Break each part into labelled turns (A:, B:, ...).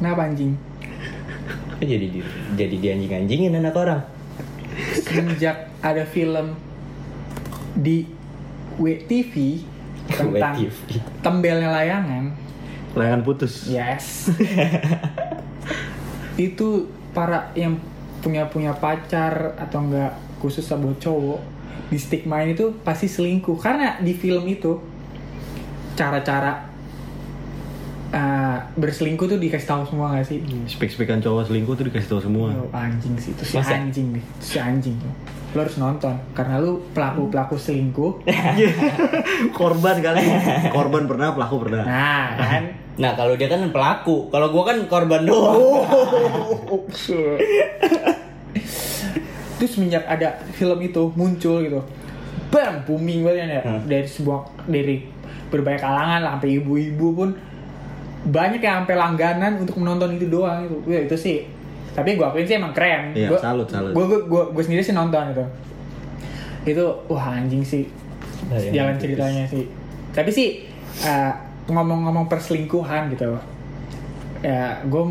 A: apa anjing?
B: jadi di, jadi dianjing anjingin anak orang
A: Semenjak ada film di WTV tentang
B: WTV.
A: tembelnya layangan,
C: Layangan putus.
A: yes. itu para yang punya punya pacar atau enggak khusus sama cowok di stigmain itu pasti selingkuh karena di film itu cara-cara eh, berselingkuh tuh dikasih tahu semua gak sih?
C: Spek-spekan cowok selingkuh tuh dikasih tahu semua.
A: Oh, anjing sih itu si
B: Masa?
A: anjing nih, si anjing. Lo harus nonton karena lu pelaku pelaku selingkuh.
C: Korban kali. Korban pernah, pelaku pernah.
A: Nah kan.
B: nah kalau dia kan pelaku kalau gua kan korban doang
C: Oh.
A: Terus semenjak ada film itu muncul gitu, bam booming banget kan ya
B: Hmm.
A: dari sebuah dari berbagai kalangan lah, sampai ibu-ibu pun banyak yang sampai langganan untuk menonton itu doang itu. Wih, itu sih. Tapi gue akuin sih emang keren.
C: Iya, salut, salut.
A: Gue sendiri sih nonton gitu. itu. Itu wah anjing sih.
C: Nah,
B: Layangan
C: iya.
A: jalan
B: putus.
A: ceritanya sih. Tapi sih eh, ngomong-ngomong perselingkuhan gitu, ya gue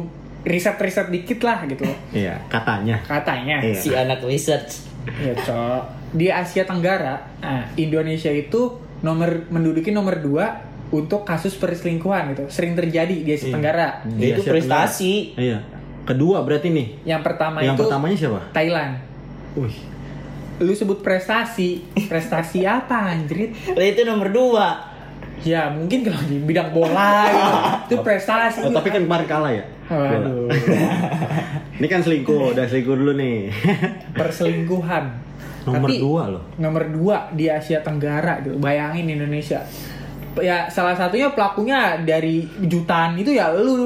A: riset-riset dikit lah gitu
C: Iya, katanya.
A: katanya.
C: Iya.
B: si anak research
A: Ya cok. Di Asia Tenggara, nah, Indonesia itu nomor menduduki nomor dua untuk kasus perselingkuhan gitu. Sering terjadi di Asia
C: Iya.
A: Tenggara.
C: Di
B: dia itu
C: Asia
B: prestasi
C: Iya. Kedua berarti nih.
A: Yang pertama
C: yang
A: itu
C: pertamanya siapa?
A: Thailand.
C: Wih.
A: Lu sebut prestasi, prestasi apa anjrit?
B: Lah, itu nomor dua
A: Ya mungkin kalau di bidang bola gitu. itu prestasi.
C: Oh, tapi kan kemarin kalah ya.
A: Waduh.
C: Ini kan selingkuh, udah selingkuh dulu nih.
A: perselingkuhan.
C: Nomor
A: Tapi,
C: dua loh.
A: Nomor dua di Asia Tenggara gitu. Bayangin Indonesia. Ya salah satunya pelakunya dari jutaan itu ya lu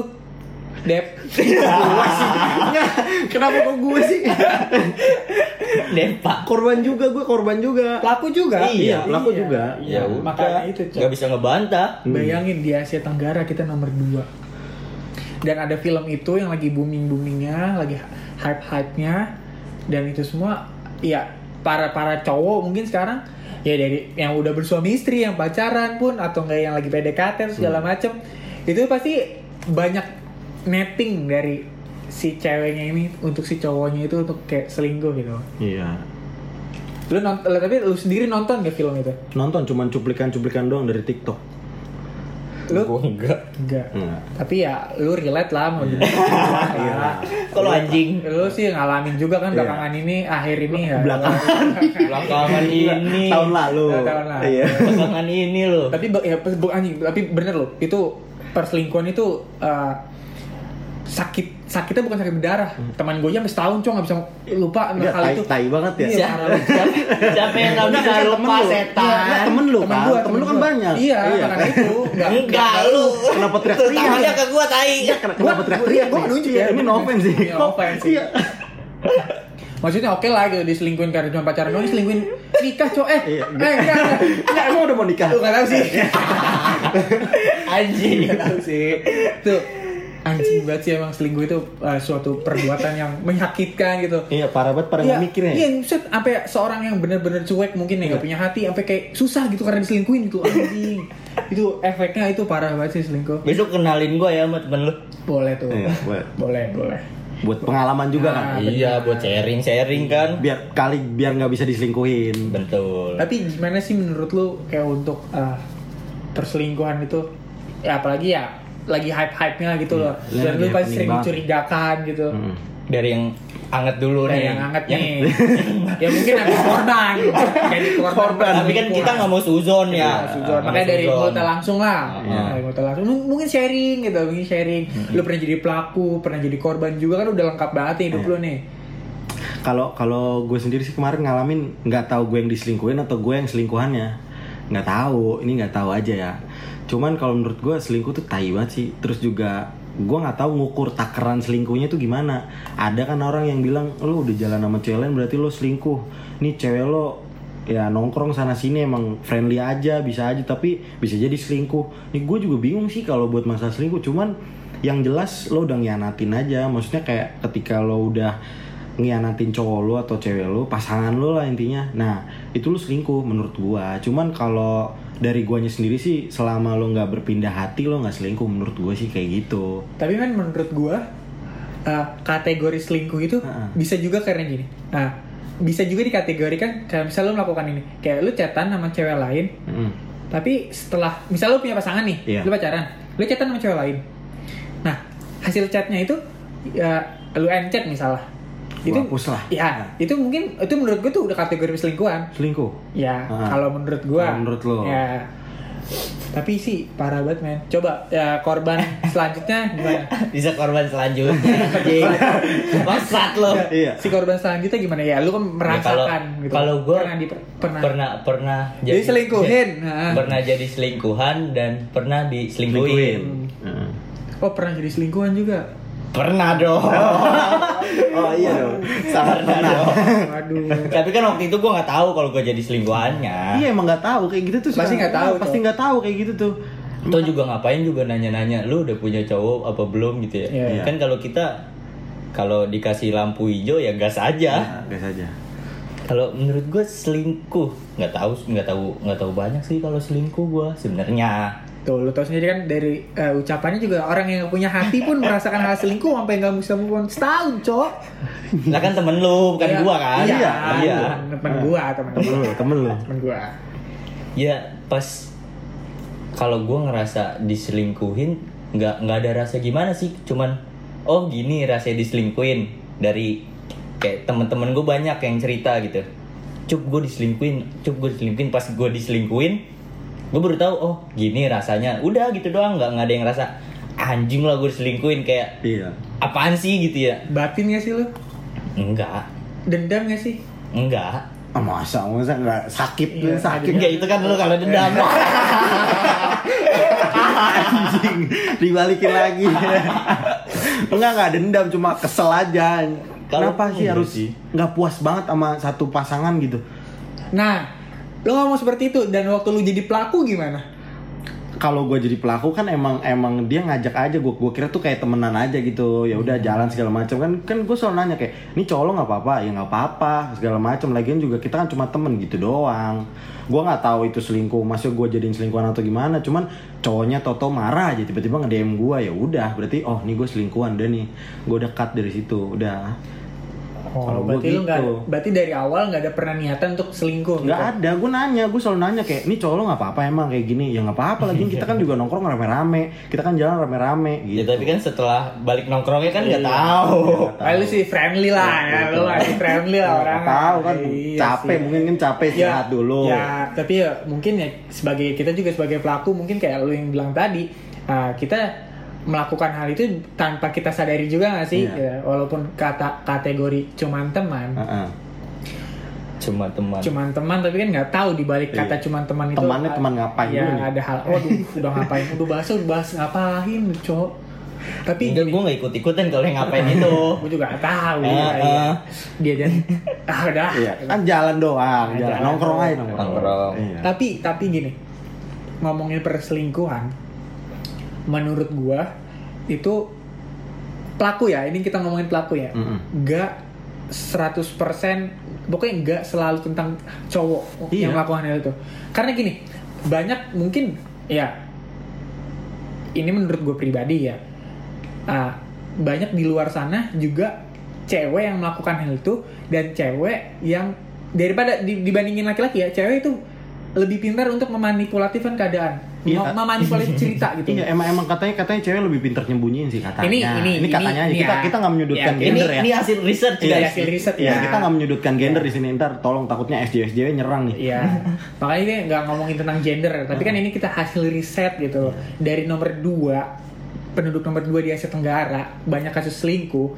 A: Dep.
C: Gua sih. Nggak, Kenapa kok gue sih? Iya,
B: depa
C: Korban juga, gue korban juga.
A: Pelaku juga.
B: Iya,
C: pelaku juga.
A: Iya,
B: ya udah
A: makanya itu. Cok.
B: nggak bisa ngebantah
C: Hmm.
A: Bayangin di Asia Tenggara kita nomor dua. Dan ada film itu yang lagi booming-boomingnya, lagi hype-hype-nya dan itu semua ya para para cowok mungkin sekarang ya dari yang udah bersuami istri, yang pacaran pun atau enggak yang lagi PDKT terus segala macem itu pasti banyak netting dari si ceweknya ini untuk si cowoknya itu untuk kayak selingkuh gitu.
C: Iya.
A: Lu nonton, tapi lu sendiri nonton gak film itu?
C: Nonton cuman cuplikan-cuplikan doang dari TikTok.
A: Lu
B: gua enggak
A: enggak.
C: Enggak.
A: Tapi ya lu relate lah mau
C: Iya.
A: gimana. Iya.
B: kalau anjing
A: Lu sih ngalamin juga kan
C: Iya.
A: belakangan ini akhir ini ya.
C: Belakangan.
B: belakangan
C: Iya.
B: ini
C: Tahun lalu.
A: Iya. Tahun lalu.
C: Iya.
B: belakangan ini loh
A: Tapi be- ya, pe- be- anjing, tapi bener loh. Itu perselingkuhan itu eh, sakit sakitnya bukan sakit berdarah. Teman gue aja sampai setahun cong nggak bisa lupa
C: Enggak,
A: hal
C: Hmm. Iya, tai,
A: itu.
C: tai banget ya.
A: Iya.
B: siapa siapa yang nggak bisa lupa
C: bukan temen lu. Iya,
B: setan
C: enggak, temen lu kan.
A: gua,
C: Temen lu kan
A: gua.
C: banyak.
A: Iya,
C: Iya.
A: makanya itu. Nggak-
B: enggak lu
C: Kenapa teriak-teriak?
B: tangannya ke gua tai
C: Iya, ken- kenapa
A: Gua-
C: teriak-teriak?
A: gua
C: nih?
A: nunjuk
C: Iya,
A: ya.
C: Ini no offense sih.
A: Iya, no offense sih.
C: Iya.
A: Maksudnya oke lah gitu diselingkuhin karena cuma pacaran doang, selingkuhin nikah cok eh.
C: Iya,
A: eh, enggak.
C: Enggak, emang udah mau nikah.
A: Lu nggak tahu sih.
B: anjing
A: Gak Iya tahu sih. Tuh anjing banget sih emang selingkuh itu uh, suatu perbuatan yang menyakitkan gitu.
C: Iya, parah banget pada nggak mikirnya. ya? Iya.
A: Iya, set sampai seorang yang bener-bener cuek mungkin ya nggak punya hati, sampai kayak susah gitu karena diselingkuhin gitu anjing. itu efeknya itu parah banget sih selingkuh.
B: besok kenalin gua ya sama temen lu
A: Boleh tuh.
C: Iya, boleh.
A: boleh, boleh.
C: Buat pengalaman juga kan.
A: Nah.
B: iya buat sharing sharing kan
C: Biar kali biar nggak bisa diselingkuhin.
B: betul
A: Tapi gimana sih menurut lu kayak untuk uh, perselingkuhan itu ya apalagi ya lagi hype-hype-nya gitu loh.
C: Iya,
A: Dan lu pasti
C: lagi happening
A: sering
C: banget.
A: dicurigakan gitu.
C: Hmm.
B: dari yang anget dulu
A: Udah
B: nih
A: yang hangat nih. ya mungkin habis korban. Jadi korban.
B: tapi kan kita nggak mau suzon ya
A: Iya, Suzon.
B: Nggak
A: Makanya
B: mau
A: dari
B: suzon.
A: mulut langsung lah. Nah,
C: Iya.
A: Dari mulut langsung. Mung- Mungkin sharing gitu, mungkin sharing. Lu pernah jadi pelaku, pernah jadi korban juga kan udah lengkap banget nih hidup
B: Iya.
A: lu nih.
C: Kalau kalau gue sendiri sih kemarin ngalamin nggak tahu gue yang diselingkuhin atau gue yang selingkuhannya. Nggak tahu, ini nggak tahu aja ya. Cuman kalau menurut gue selingkuh tuh tai banget sih. Terus juga gue nggak tahu ngukur takaran selingkuhnya tuh gimana. Ada kan orang yang bilang lu udah jalan sama cewek lain berarti lo selingkuh. Nih cewek lo ya nongkrong sana sini emang friendly aja bisa aja tapi bisa jadi selingkuh. Nih gue juga bingung sih kalau buat masalah selingkuh. Cuman yang jelas lo udah ngianatin aja. Maksudnya kayak ketika lo udah ngianatin cowok lu atau cewek lu, pasangan lu lah intinya. Nah, itu lu selingkuh menurut gua. Cuman kalau dari guanya sendiri sih selama lo nggak berpindah hati lo nggak selingkuh menurut gue sih kayak gitu
A: Tapi kan menurut gua eh, kategori selingkuh itu
C: Heeh.
A: bisa juga karena gini. Nah, bisa juga dikategorikan kayak misalnya lo melakukan ini. Kayak lo chatan sama cewek lain,
C: Mm.
A: tapi setelah misalnya lo punya pasangan nih,
C: Iya.
A: lo pacaran, lo chatan sama cewek lain. Nah, hasil chatnya itu ya lo end chat misalnya. Itu
C: Gua hapus lah
A: ya, itu mungkin itu menurut gue tuh udah kategori selingkuhan.
C: selingkuh
A: Ya,
C: Ah.
A: kalau menurut gua.
C: Kalau menurut lo.
A: Ya. Tapi sih parah banget men. Coba ya korban selanjutnya gimana?
B: Bisa korban selanjutnya. anjing. Bangsat lo.
C: iya
A: Si korban selanjutnya gimana ya? Lu kan
B: Ya, kalau
A: merasakan gitu.
B: kalau gue
A: pernah di pernah,
B: pernah pernah
A: jadi selingkuhin. Nah.
B: pernah jadi selingkuhan dan pernah
A: iya.
C: selingkuhin
B: diselingkuhin.
C: Mm.
A: Oh, pernah jadi selingkuhan juga.
B: Pernah dong.
C: oh iya dong
B: pernah dong.
A: Waduh.
B: Tapi kan waktu itu gue nggak tahu kalau gue jadi selingkuhannya.
C: iya emang nggak tahu kayak gitu tuh
A: Pasti
C: sekarang.
A: nggak tahu,
C: Iya, pasti
A: tuh.
C: nggak tahu kayak gitu tuh
B: Atau juga ngapain juga nanya-nanya, lu udah punya cowok apa belum gitu ya?
A: Iya,
C: iya.
B: Kan kalau kita kalau dikasih lampu hijau ya gas
A: Iya.
B: aja.
C: Nah, gas aja
B: Kalau menurut gue selingkuh nggak tahu nggak tahu nggak tahu banyak sih kalau selingkuh gue sebenarnya.
A: Tuh, lu tau sendiri kan dari eh, ucapannya juga orang yang gak punya hati pun merasakan hal selingkuh sampai nggak bisa move on setahun, Cok.
B: Lah kan temen lu bukan
A: Ya,
B: gua kan?
A: Iya,
B: Iya.
A: Temen gua, temen
C: temen
A: gua.
C: lo temen lo
A: Temen gua.
B: Ya pas kalau gua ngerasa diselingkuhin nggak nggak ada rasa gimana sih? Cuman oh gini rasanya diselingkuhin dari kayak temen-temen gua banyak yang cerita gitu. Cup gua diselingkuhin, cup gua diselingkuhin pas gua diselingkuhin gua baru tahu oh gini rasanya. Udah gitu doang nggak nggak ada yang ngerasa anjing lah gua diselingkuhin kayak
C: iya
B: apaan sih gitu ya?
A: Batin gak sih lu?
B: Enggak,
A: Dendam gak sih?
B: enggak.
C: ah, masa masa nggak sakit
A: Iya,
C: sakit
B: Enggak itu kan lu kalau dendam.
C: anjing dibalikin lagi enggak enggak dendam cuma kesel aja
B: Kalau-
C: kenapa sih
B: iya
C: harus
B: sih.
C: nggak puas banget sama satu pasangan gitu
A: Nah, lo ngomong seperti itu dan waktu lu jadi pelaku gimana?
C: kalau gue jadi pelaku kan emang emang dia ngajak aja gue gue kira tuh kayak temenan aja gitu ya udah jalan segala macam kan kan gue selalu nanya kayak ini cowok lo nggak apa apa ya nggak apa apa segala macam lagian juga kita kan cuma temen gitu doang gue nggak tahu itu selingkuh maksud gue jadiin selingkuhan atau gimana cuman cowoknya toto marah aja tiba-tiba nge DM gue ya udah berarti oh nih gue selingkuhan udah nih gue dekat dari situ udah Kalau gua
A: Oh, berarti lu nggak,
C: gitu.
A: berarti dari awal nggak ada pernah niatan untuk selingkuh. gitu?
C: nggak ada gue nanya gue selalu nanya kayak ini cowok lo nggak apa apa emang kayak gini ya nggak apa apa lagi kita kan juga nongkrong rame-rame kita kan jalan rame-rame gitu
B: Ya tapi kan setelah balik nongkrongnya kan nggak tahu.
A: Ah, lu sih friendly lah, ya, lu masih friendly lah orang.
C: Iya, Nggak tahu kan
A: Iya
C: capek
A: sih. Iya.
C: mungkin kan capek istirahat dulu
A: Ya, tapi ya mungkin ya sebagai kita juga sebagai pelaku mungkin kayak lu yang bilang tadi, ah, kita melakukan hal itu tanpa kita sadari juga nggak sih? Ya,
C: Iya.
A: walaupun kata kategori cuman teman,
C: Heeh.
B: Cuma teman.
A: cuman teman tapi kan nggak tahu di balik kata
C: Ah. Iya.
A: cuman teman itu
C: Temannya
A: ah,
C: teman ngapain
A: ya
C: dulu nih?
A: ada hal waduh udah ngapain udah bahas udah bahas ngapain cowok tapi
C: Iya,
B: Enggak, gue nggak ikut-ikutan kalau yang ngapain
C: gitu.
B: itu.
A: gue juga nggak tahu
B: Eh,
A: ya, iya.
B: eh.
A: dia dan ah udah
C: Ah, Iya, kan jalan doang
A: Nah,
C: jalan
A: jalan
C: nongkrong aja
A: doang.
C: nongkrong,
B: Nongkrong.
C: Iya.
A: tapi tapi gini ngomongin perselingkuhan menurut gua itu pelaku ya ini kita ngomongin pelaku ya
C: Mm-mm.
A: nggak 100% pokoknya nggak selalu tentang cowok
C: Iya.
A: yang melakukan hal itu karena gini banyak mungkin ya ini menurut gue pribadi ya ah, banyak di luar sana juga cewek yang melakukan hal itu dan cewek yang daripada di- dibandingin laki-laki ya cewek itu lebih pintar untuk memanipulatifkan keadaan
C: Iya.
A: Mem- memanipulatif cerita gitu
C: Iya, emang emang katanya katanya cewek lebih pintar nyembunyiin sih katanya.
A: Ini- ini-
C: ini katanya
A: ini-
C: aja.
A: ini
C: kita
A: ya.
C: kita nggak
A: Ya,
C: menyudutkan
B: ini
C: gender ya.
B: ini hasil research
A: Iya,
B: guys.
A: hasil riset
C: Iya,
A: ya.
C: kita nggak menyudutkan gender di sini. Ntar tolong takutnya SJW SJW nyerang nih.
A: Iya, makanya ini nggak ngomongin tentang gender, tapi kan ini kita hasil riset gitu loh.
C: Iya.
A: Dari nomor 2, penduduk nomor 2 di Asia Tenggara, banyak kasus selingkuh.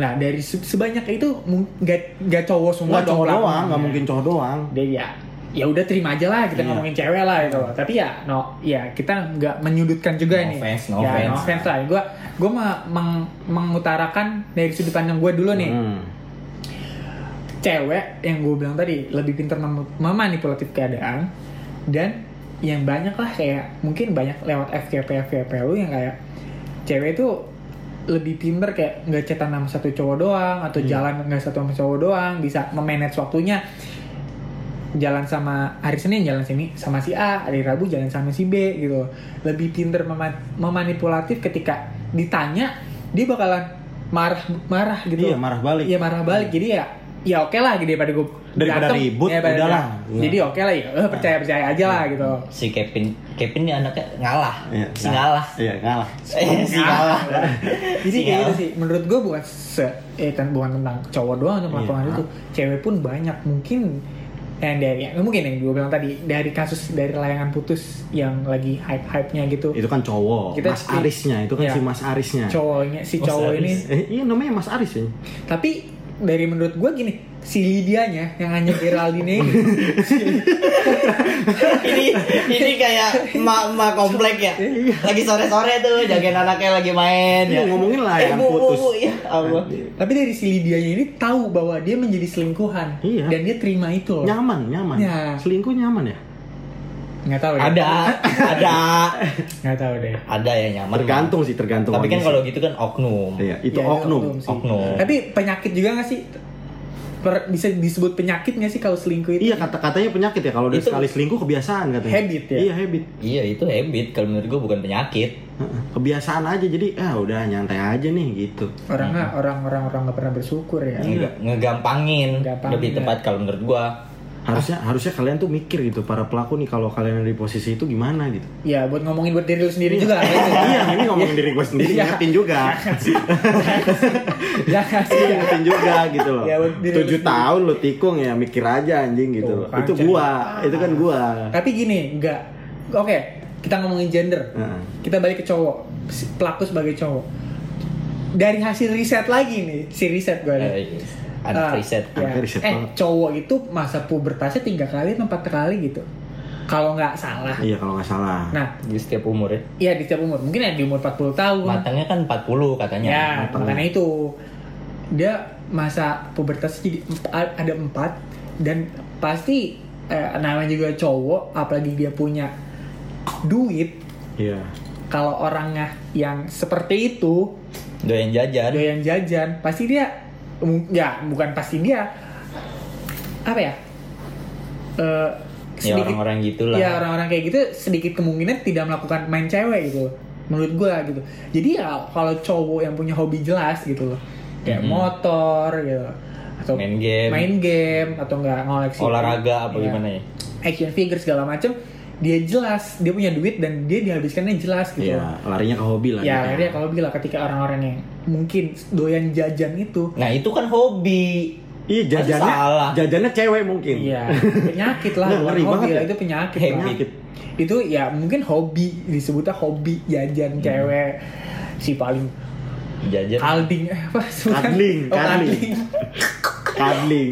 A: Nah, dari se- sebanyak itu mu- nggak nggak cowok semua
C: Nggak cowok
A: pelakunya.
C: doang, nggak mungkin cowok doang.
A: Dia ya, ya udah terima aja lah kita
C: Iya.
A: ngomongin cewek lah gitu loh. Tapi ya, no, ya kita nggak menyudutkan juga
B: No
A: ini.
B: offense, no
A: ya,
B: offense.
A: no offense lah. Gue gue mengutarakan dari sudut pandang gue dulu nih
C: Hmm.
A: cewek yang gue bilang tadi lebih pintar mem- memanipulatif keadaan dan yang banyak lah kayak mungkin banyak lewat FKP FKP lu yang kayak cewek itu lebih pinter kayak nggak cetan sama
C: Iya.
A: satu cowok doang atau jalan nggak satu sama cowok doang bisa memanage waktunya jalan sama hari Senin jalan sini sama si A, hari Rabu jalan sama si B gitu. Lebih pinter mema- memanipulatif ketika ditanya dia bakalan marah marah gitu.
C: Iya, marah balik.
A: Iya marah balik. Jadi ya ya oke lah gitu daripada gue
C: Daripada
A: berantem.
C: ribut, Iya.
A: Ya, daripada-
C: udahlah.
A: Jadi oke lah ya percaya percaya aja lah gitu.
B: si Kevin Kevin ini anaknya ngalah
C: Iya,
B: si ngalah
C: Iya, ngalah.
B: Eh, si ngalah
A: Jadi
B: Si
A: kayak gitu
B: ngalah.
A: sih. Menurut gue bukan se eh kan bukan tentang cowok doang yang melakukan hal
C: Iya.
A: itu. Cewek pun banyak mungkin yang dari ya, mungkin yang gue bilang tadi dari kasus dari layangan putus yang lagi hype hype nya gitu
C: Itu kan cowok.
A: Kita-
C: Mas Arisnya, itu kan
A: Iya.
C: si Mas Arisnya.
A: cowoknya si
B: Mas
A: cowok ini
B: Aris.
C: Eh, iya namanya Mas Aris ya.
A: tapi dari menurut gue gini si Lidianya yang hanya Geraldine ini
B: ini ini kayak emak emak komplek ya lagi sore sore tuh jagain anaknya lagi main ya
C: Iya, ngomongin layangan
B: bu, bu,
C: putus. Iya.
B: bu, ya Allah
A: tapi dari si Lidianya ini tahu bahwa dia menjadi selingkuhan
C: Iya.
A: dan dia terima itu loh
C: Nyaman, nyaman.
A: Ya.
C: Selingkuh nyaman ya?
A: nggak tahu ya
B: ada ada
A: nggak tahu deh
B: ada yang nyaman
C: Tergantung sih, tergantung.
B: tapi kan
C: kondisi.
B: kalau gitu kan oknum
C: Iya, itu
A: Ya,
C: oknum.
A: sih.
B: Oknum.
A: Tapi penyakit juga gak sih? Per- bisa disebut penyakit gak sih kalau selingkuh itu?
C: Iya, kata-katanya penyakit ya. Kalau udah
B: Itu-
C: sekali selingkuh kebiasaan katanya.
A: Habit ya?
C: Iya, habit.
B: iya itu habit kalau menurut gue bukan penyakit
C: Heeh, Kebiasaan aja jadi ah udah nyantai aja nih gitu.
A: Orangnya orang-orang orang nggak pernah bersyukur ya.
C: Iya.
B: Nge- ngegampangin
A: Gampangin,
B: lebih tepat kalau menurut gua
C: Harusnya harusnya kalian tuh mikir gitu para pelaku nih kalau kalian ada di posisi itu gimana gitu.
A: Ya buat ngomongin buat diri lu sendiri juga. kan?
C: iya, ini ngomongin diri gue sendiri,
A: Iya.
C: ngingetin juga.
A: Jangan Ya, sih.
C: ngingetin juga gitu loh.
A: Ya, buat diri lu
C: Tujuh
A: sendiri.
C: tahun lu tikung ya mikir aja anjing gitu
A: Tuh,
C: loh.
A: kan,
C: Itu
A: jadi-
C: gua, itu kan gua.
A: Tapi gini, nggak. Oke, kita ngomongin gender.
C: Heeh.
A: Kita balik ke cowok. Si- Pelaku sebagai cowok. Dari hasil riset lagi nih, si riset gue.
B: eh, anak
A: Iya. Ah,
B: riset
A: ya.
C: Anak riset
A: Eh,
C: banget.
A: cowok itu masa pubertasnya tiga kali, atau empat kali gitu. Kalau nggak salah.
C: Iya kalau nggak salah.
A: Nah,
B: di setiap umur ya
A: Iya di setiap umur. Mungkin ya di umur 40 tahun.
B: matangnya kan 40 katanya
A: ya,
C: matang.
A: makanya itu. Dia masa pubertas jadi emp- ada empat dan pasti eh, namanya juga cowok apalagi dia punya duit
C: Iya.
A: kalau orangnya yang seperti itu
B: doyan jajan Ya,
A: ada yang jajan pasti dia mm, ya bukan pasti dia apa ya Eh,
B: ya orang-orang gitulah
A: Ya orang-orang kayak gitu sedikit kemungkinan tidak melakukan main cewek gitu. Menurut gua gitu. Jadi ya kalau cowok yang punya hobi jelas gitu loh. Kayak
B: Mhm.
A: motor gitu. Atau
B: Main game.
A: Main game atau enggak ngoleksi
B: olahraga apa
A: Iya.
B: gimana ya
A: Action figure segala macem dia jelas, dia punya duit dan dia dihabiskannya jelas gitu.
C: Iya, larinya ke hobi
A: Ya
C: lah. gitu.
A: akhirnya kalau bilang ketika orang-orang yang mungkin doyan jajan itu
B: nah itu kan hobi
C: Iya
B: Masa
C: jajannya,
B: salah?
C: jajannya cewek mungkin.
A: Iya, penyakit lah,
C: Nah,
A: bukan
C: ngeri
A: hobi
C: banget
A: lah,
C: ya.
A: itu penyakit.
B: Habit.
A: banget. Itu ya mungkin hobi disebutnya hobi jajan cewek si paling
B: jajan
A: kalding eh, apa sebutan?
C: Kadling,
A: Oh,
C: kadling. Kadling.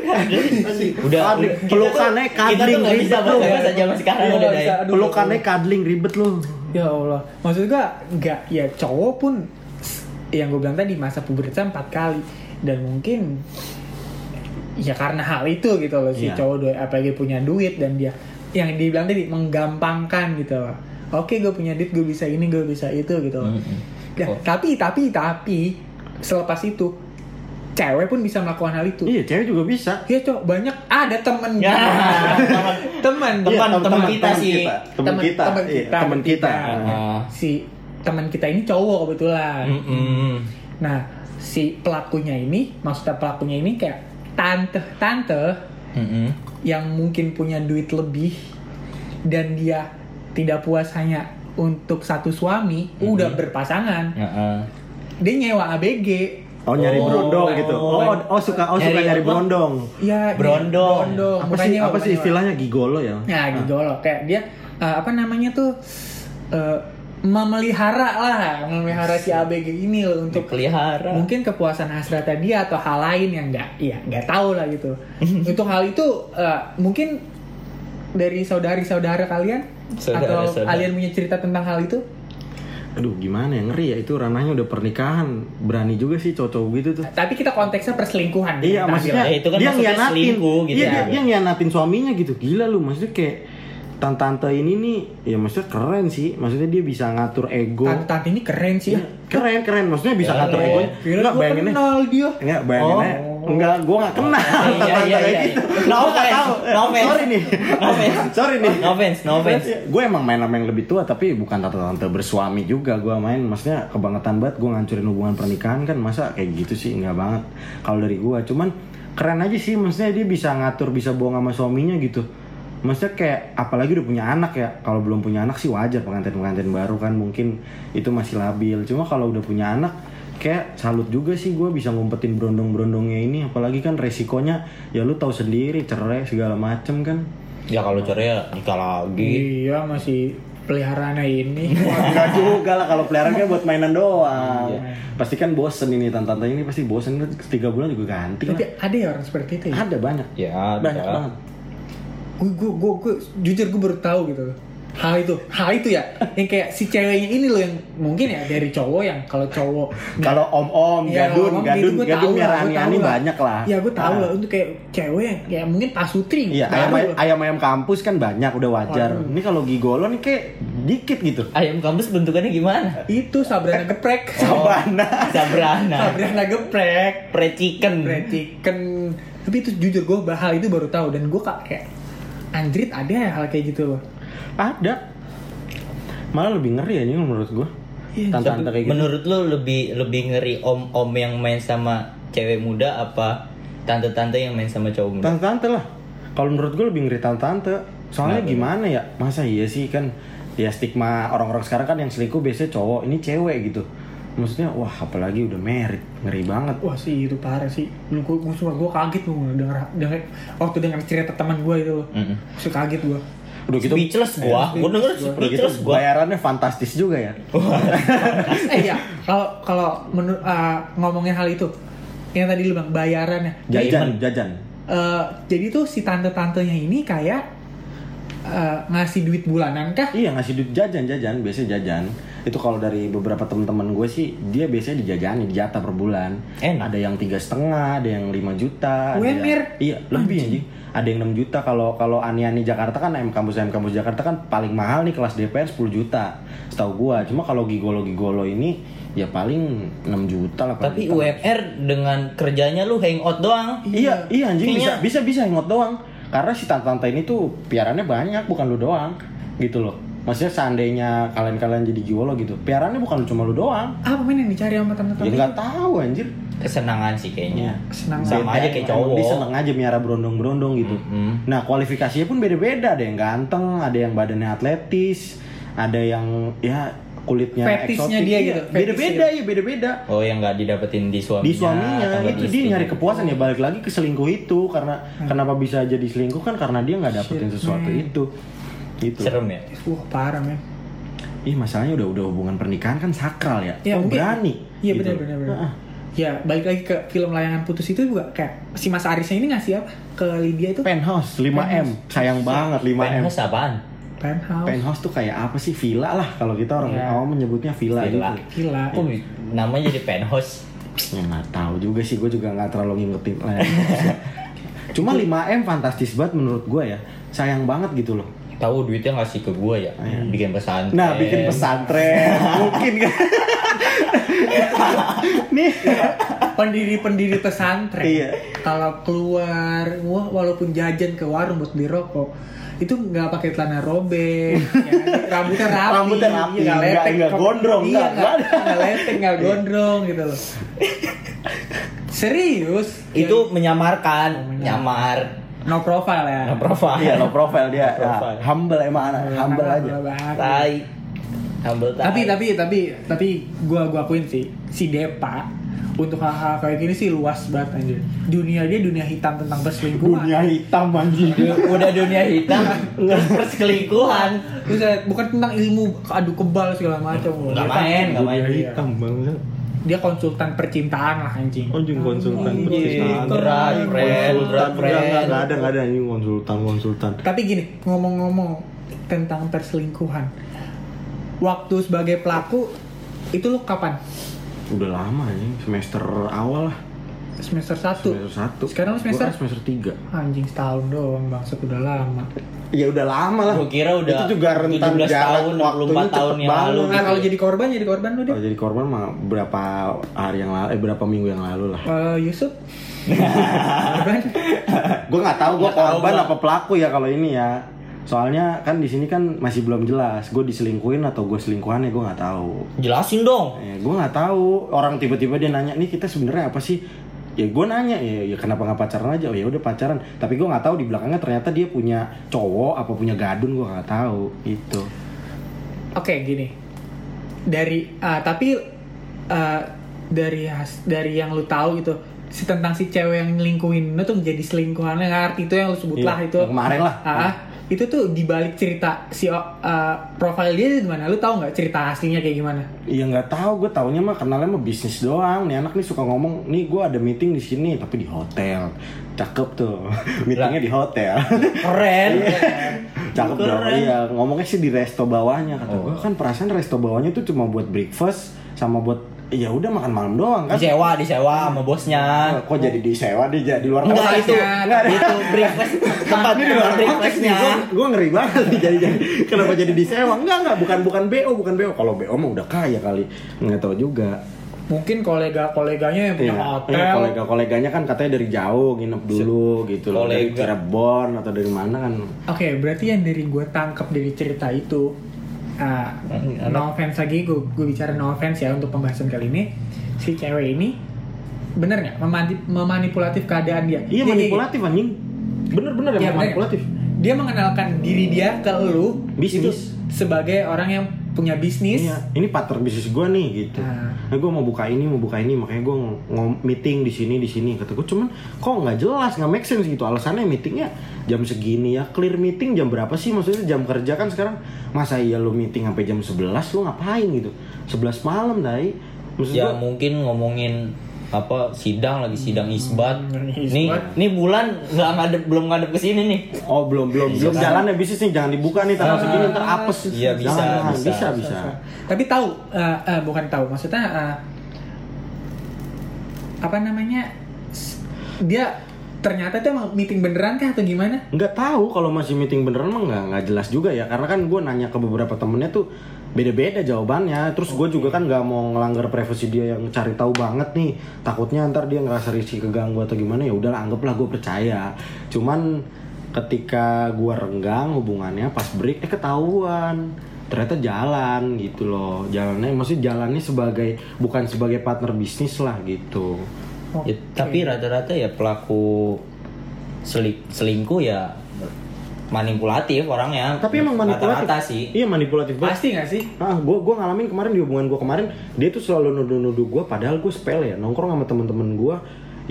B: udah
C: Kadling.
B: udah-
C: Pelukannya
B: kita tuh- kita tuh
C: kadling
B: nggak bisa
C: ribet
B: bahasa
C: lu.
B: bahasa zaman sekarang
A: Iya,
B: udah
A: nggak
B: Day.
A: bisa. Aduh,
C: Pelukannya kadling ribet lu.
A: Ya Allah, maksud gua nggak ya cowok pun s- yang gue bilang tadi masa pubertas empat kali dan mungkin ya karena hal itu gitu loh si
C: Iya.
A: cowok doi- apalagi punya duit dan dia yang dibilang tadi menggampangkan gitu loh. Oke gue punya duit gue bisa ini gue bisa itu gitu loh.
B: Mm-mm.
A: Ya,
B: Oh.
A: tapi tapi tapi selepas itu cewek pun bisa melakukan hal itu.
C: Iya, cewek juga bisa.
A: Iya cowok banyak ada temen
B: Ya.
A: temen
B: Teman,
C: Iya,
B: teman kita sih.
C: Teman
A: Teman-
C: kita.
A: teman
C: Iya,
A: kita.
C: Teman kita.
B: Ah. Hmm.
A: si teman kita ini cowok kebetulan.
B: Mm-mm.
A: Nah si pelakunya ini maksudnya pelakunya ini kayak tante tante
B: Mm-mm.
A: yang mungkin punya duit lebih dan dia tidak puas hanya untuk satu suami udah berpasangan
B: Heeh.
A: dia nyewa ABG
C: Oh nyari
B: Oh,
C: brondong gitu. Oh,
A: bukan.
C: oh suka oh suka
B: Nyari
C: nyari
B: apa?
C: brondong.
A: ya
B: Berondong.
A: berondong.
C: Apa
A: Bukan
C: sih
A: nyewa,
C: apa
A: bukan
C: sih
A: nyewa.
C: istilahnya gigolo ya?
A: Ya gitu loh, kayak dia eh, apa namanya tuh eh, memelihara lah, memelihara si ABG ini loh
B: untuk
A: untuk
B: pelihara
A: mungkin kepuasan hasratnya dia atau hal lain yang nggak, ya nggak tahu lah gitu. untuk hal itu eh, mungkin dari saudari-saudara kalian atau
B: Saudara-saudara.
A: kalian punya cerita tentang hal itu?
C: Aduh gimana ya ngeri ya itu ranahnya udah pernikahan berani juga sih cowok gitu tuh.
A: Tapi kita konteksnya perselingkuhan. Nah,
C: Iya
A: kita
C: maksudnya
A: bilang.
B: Ya, itu kan
C: dia
B: maksudnya
C: ngianatin
B: selingkuh gitu
C: Iya
B: ya.
C: dia, dia ngianatin suaminya gitu gila lu maksudnya kayak tante-tante ini nih ya maksudnya keren sih maksudnya dia bisa ngatur ego Iya,
A: tante-tante ini keren sih. ya.
C: keren keren maksudnya bisa ngatur
B: Keren.
C: ego
A: Gila,
C: nggak
A: gua
C: bayangin
A: kenal dia.
C: nggak bayangin
A: Oh.
C: Enggak, gue gak kenal.
B: Iya, iya, Nah,
C: Kayak
B: iya. ya?
C: gitu.
B: No
C: Gua nggak
B: offense,
C: tahu.
B: no offense.
C: Sorry nih.
B: No offense.
C: Sorry nih.
B: No offense, no offense.
C: Gue ya. emang main sama yang lebih tua tapi bukan tante-tante bersuami juga gue main. Maksudnya kebangetan banget gue ngancurin hubungan pernikahan kan masa kayak gitu sih nggak banget. Kalau dari gue cuman keren aja sih maksudnya dia bisa ngatur bisa bohong sama suaminya gitu. Maksudnya kayak apalagi udah punya anak ya. Kalau belum punya anak sih wajar pengantin-pengantin baru kan mungkin itu masih labil. Cuma kalau udah punya anak kayak salut juga sih gue bisa ngumpetin berondong-berondongnya ini apalagi kan resikonya ya lu tahu sendiri cerai segala macem kan
B: Ya kalau cerai ya nikah lagi.
A: Iya masih peliharaannya ini.
C: Enggak juga lah kalau peliharaan kan buat mainan doang pasti kan bosen ini tante-tante ini pasti bosen tiga bulan juga ganti
A: Tapi
C: lah.
A: ada ya orang seperti itu ya.
C: ada banyak
B: Ya,
C: banyak
B: ada.
C: banget
A: Gue gue gue jujur gue baru tahu gitu. Hal itu, hal itu ya, yang kayak si ceweknya ini loh yang mungkin ya dari cowok yang kalau cowok
C: kalau om-om
A: Iya, ngomong
C: gadun gadun
A: gitu, gua
C: gadun
A: tahu lah,
C: merah
A: gua tahu
C: ani
A: lah.
C: banyak lah
A: Iya gue tahu
C: Ah.
A: lah untuk kayak cewek yang kayak mungkin pasutri.
C: Iya,
A: baru
C: ayam
A: loh.
C: ayam ayam kampus kan banyak udah wajar.
A: Waduh.
C: Ini kalau gigolo nih kayak dikit gitu.
B: Ayam kampus bentukannya gimana? Oh,
A: Itu Sabrina geprek.
C: Oh, Sabana. nah.
B: Sabrana.
A: Sabrina geprek.
C: Hmm.
B: Fried chicken.
A: Fried chicken. Tapi itu jujur gue bahal itu baru tahu dan gue kayak Andrit ada ya hal kayak gitu loh.
C: Ada. Malah lebih ngeri ya ini menurut gua.
A: Iya,
C: Tante-tante kayak gitu.
B: Menurut lo lebih lebih ngeri om-om yang main sama cewek muda apa tante-tante yang main sama cowok muda?
C: Tante-tante lah. Kalau menurut gua lebih ngeri tante-tante. Soalnya
B: Kenapa?
C: gimana ya? Masa iya sih kan ya stigma orang-orang sekarang kan yang selingkuh biasanya cowok, ini cewek gitu. Maksudnya wah apalagi udah merit, ngeri banget.
A: Wah sih itu parah sih. Gue gue cuma gue kaget tuh denger, denger waktu denger cerita teman gue itu loh.
B: Mm-mm.
A: Terus kaget gue.
C: Udah gitu
B: Speechless gua, gua denger
C: udah gitu
B: speechless gua. Oh,
C: bayarannya fantastis juga ya.
A: eh ya kalau kalau menurut ah, ngomongin hal itu yang tadi lu bang bayarannya. Jadi,
C: Jajan,
B: iya.
C: jajan.
A: eh, jadi tuh si tante-tantenya ini kayak eh, ngasih duit bulanan kah?
C: Iya ngasih duit jajan jajan biasanya jajan itu kalau dari beberapa teman-teman gue sih dia biasanya dijajani dijatah per bulan
B: Enak.
C: ada yang tiga setengah ada yang 5 juta ada
A: UMR.
C: yang- iya lebih anjing ada yang 6 juta kalau kalau ani ani Jakarta kan em kampus em kampus Jakarta kan paling mahal nih kelas DPR 10 juta setahu gua cuma kalau gigolo gigolo ini ya paling 6 juta lah
B: Tapi UMR dengan kerjanya lu hangout doang.
C: Iya, iya anjing bisa
B: Kayaknya-
C: bisa bisa ingot doang. Karena si tante-tante ini tuh piarannya banyak bukan lu doang gitu loh. Maksudnya seandainya kalian-kalian jadi gigolo gitu, piarannya bukan cuma lu doang.
A: Apa main yang dicari sama tante-tante?
C: Ya nggak tahu anjir.
B: Kesenangan sih kayaknya.
A: Senang
B: Iya. Sama
C: Beda,
B: aja kayak
C: emang
B: cowok.
C: Dia seneng aja miara berondong-berondong gitu.
B: Mm.
C: Nah kualifikasinya pun beda-beda. Ada yang ganteng, ada yang badannya atletis, ada yang ya kulitnya
A: Fetisnya dia
C: eksotik. Iya,
A: gitu,
C: Beda-beda ya beda-beda.
B: Oh yang nggak didapetin di suaminya.
C: di suaminya
B: atau nggak
C: itu
B: di
C: dia
B: istrinya.
C: nyari kepuasan ya balik lagi ke selingkuh itu karena kenapa bisa jadi selingkuh kan karena dia nggak dapetin
A: Hmm. Shit, Hmm.
C: sesuatu
A: man.
C: itu gitu
B: Serem ya.
A: Wah parah men.
C: ih masalahnya udah udah hubungan pernikahan kan sakral ya,
A: Ya,
C: Lo
A: mungkin-
C: berani
A: Iya
C: gitu.
A: benar benar benar.
C: Heeh.
A: Ya balik lagi ke film layangan putus itu juga kayak si Mas Arisnya ini ngasih apa ke Lydia itu?
C: penthouse 5 m sayang banget 5 m
B: Penthouse apaan?
A: Penthouse.
C: penthouse tuh kayak apa sih villa lah kalau kita orang
A: Iya.
C: awam menyebutnya villa,
B: Villa.
C: gitu
A: Gila.
B: Kok bi- namanya jadi penthouse?
C: ya nggak tahu juga sih gue juga nggak terlalu ngingetin lah ya. cuma 5 m fantastis banget menurut gue ya sayang banget gitu loh
B: Tahu duitnya ngasih ke gua ya. Bikin pesan. Eh,
C: Nah, bikin pesantren mungkin kan. Nih,
A: Pendiri-pendiri pesantren.
C: Iya.
A: Kalau keluar, wah walaupun jajan ke warung buat beli rokok, itu nggak pakai celana robek, ya, rambutnya rapi, Iya,
C: Rambutnya rapi,
A: nggak
C: nggak-
A: lepek,
C: nggak gondrong,
A: iya,
C: nggak-
A: nggak
C: nggak Iya. ada.
A: nggak lepek, nggak gondrong gitu loh. Serius?
B: itu menyamarkan,
A: menyamarkan.
B: nyamar,
A: Ya, no profile ya.
B: no profile.
C: Oh, iya low profile dia.
B: Low profile.
C: Nah, humble emang anak, humble aja.
A: banget.
B: Tai. Humble tai.
A: tapi tapi tapi tapi gua gua akuin sih si Depa untuk hal-hal kayak gini sih luas banget anjir. Dunia dia dunia hitam tentang perselingkuhan.
C: Dunia hitam anjing.
B: udah dunia hitam, terus perselingkuhan.
A: Terus eh, bukan tentang ilmu adu kebal segala macam. loh.
B: Nggak
A: Dia-
B: main, nggak main.
C: Iya, Dunia hitam banget.
A: Dia konsultan percintaan lah anjing. iya,
C: Anjing konsultan
A: Anjing,
C: percintaan.
B: berat, friend, berat,
C: Iya, Konsultan
B: friend.
C: enggak enggak ada enggak ada anjing konsultan konsultan.
A: Tapi gini, ngomong-ngomong tentang perselingkuhan. Waktu sebagai pelaku itu lu kapan?
C: Udah lama anjing, semester awal lah.
A: semester 1
C: semester satu
A: Sekarang lu
C: Gua
A: semester?
C: kan semester tiga
A: anjing setahun doang bang udah lama
C: ya udah lama lah
B: Gua kira udah
C: itu juga rentan
B: 17
C: jarak
B: tahun, 24
C: waktunya
B: tahun
C: cepet
B: yang lalu. gitu.
A: nah
C: banget.
A: kalau jadi korban jadi korban lu deh
C: Kalau jadi korban mah berapa hari yang lalu eh berapa minggu yang lalu lah
A: Eh, Yusuf korban
C: gue Eh, nggak tahu gue
B: Nggak tahu
C: korban
B: gua.
C: apa pelaku ya kalau ini ya soalnya kan di sini kan masih belum jelas gue diselingkuhin atau gue selingkuhannya gue nggak tahu
B: Jelasin dong.
C: ya, gue nggak tahu orang tiba-tiba dia nanya nih kita sebenarnya apa sih ya gue nanya ya, ya kenapa nggak pacaran aja oh ya udah pacaran tapi gue nggak tahu di belakangnya ternyata dia punya cowok apa punya gadun gue nggak tahu Gitu. itu
A: oke gini dari ah, tapi eh, dari has- dari yang lu tahu gitu si tentang si cewek yang lingkuin lu tuh jadi selingkuhannya nggak ngerti itu yang lu sebut lah
C: Iya,
A: itu
C: yang kemarin lah
A: Ah, ah. itu tuh dibalik cerita si eh, profil dia di mana lu tahu nggak cerita aslinya kayak gimana
C: Iya nggak tahu, gue taunya mah kenalnya mah bisnis doang. Nih anak nih suka ngomong, nih gue ada meeting di sini tapi di hotel. Cakep tuh, meetingnya di hotel.
B: Keren.
C: Iya. Cakep dong,
B: Keren. Oh.
C: iya. Ngomongnya sih di resto bawahnya. Kata gue kan perasaan resto bawahnya tuh cuma buat breakfast sama buat ya udah makan malam doang kan.
B: disewa, disewa sama bosnya.
C: Kok jadi disewa dia jadi di luar
B: Iya. Enggak itu,
A: Enggak,
B: itu breakfast tempat
C: Ini di luar konteks nih,
B: breakfastnya.
C: gue ngeri banget nih jadi jadi kenapa jadi disewa? Enggak enggak, bukan bukan BO, bukan BO. Kalau BO mah udah kaya kali, nggak tahu juga.
A: mungkin kolega-koleganya yang punya
C: Iya,
A: hotel
C: iya, kolega-koleganya kan katanya dari jauh nginep dulu gitu loh. Dari
B: Kolega.
C: Cirebon atau dari mana kan.
A: Oke, berarti yang dari gue tangkap dari cerita itu, ah, no offense lagi, gue bicara no offense ya untuk pembahasan kali ini, si cewek ini bener nggak memani- memanipulatif keadaan dia? Dia-
C: Iya manipulatif anjing. Bener-bener
A: Iya,
C: ya,
A: Ya, bener.
C: manipulatif.
A: Dia mengenalkan diri dia ke lu itu
C: Bisnis.
A: sebagai orang yang punya bisnis.
C: Iya, ini pattern bisnis gue nih gitu.
A: Ah.
C: Nah, gue mau buka ini, mau buka ini, makanya gue ngom meeting di sini, di sini. Kata gue cuman kok nggak jelas, nggak make sense gitu. Alasannya meetingnya jam segini ya, clear meeting jam berapa sih? Maksudnya jam kerja kan sekarang masa iya lu meeting sampai jam 11 lu ngapain gitu? 11 malam dai. Maksud
B: Ya
C: gua-
B: mungkin ngomongin apa sidang lagi sidang isbat.
A: Hmm, isbat.
B: Nih, nih bulan nggak ngadep belum ngadep ke sini nih.
C: Oh belum belum belum jalan ya bisnis nih jangan dibuka nih tanggal segini ntar
B: Ah.
C: apes.
B: Iya, bisa,
C: Jangan,
B: bisa.
C: bisa bisa.
A: ah, Tapi tahu, eh, eh, bukan tahu, maksudnya eh, apa namanya? s- Dia ternyata itu emang meeting beneran kah atau gimana?
C: Nggak tahu kalau masih meeting beneran mah nggak nggak jelas juga ya karena kan gue nanya ke beberapa temennya tuh beda-beda jawabannya terus gue juga kan nggak mau ngelanggar privasi dia yang cari tahu banget nih takutnya ntar dia ngerasa risih keganggu atau gimana ya udahlah anggaplah gue percaya cuman ketika gue renggang hubungannya pas break eh ketahuan ternyata jalan gitu loh jalannya maksudnya jalannya sebagai bukan sebagai partner bisnis lah gitu
B: Ya, tapi
C: iya.
B: rata-rata ya pelaku seli- selingkuh ya manipulatif orangnya.
C: tapi emang manipulatif
B: Rata-rata sih.
C: iya manipulatif banget
A: Pasti nggak sih?
C: ah gue gue ngalamin kemarin di hubungan gue kemarin dia tuh selalu nuduh-nuduh gue padahal gue sepele ya nongkrong sama temen-temen gue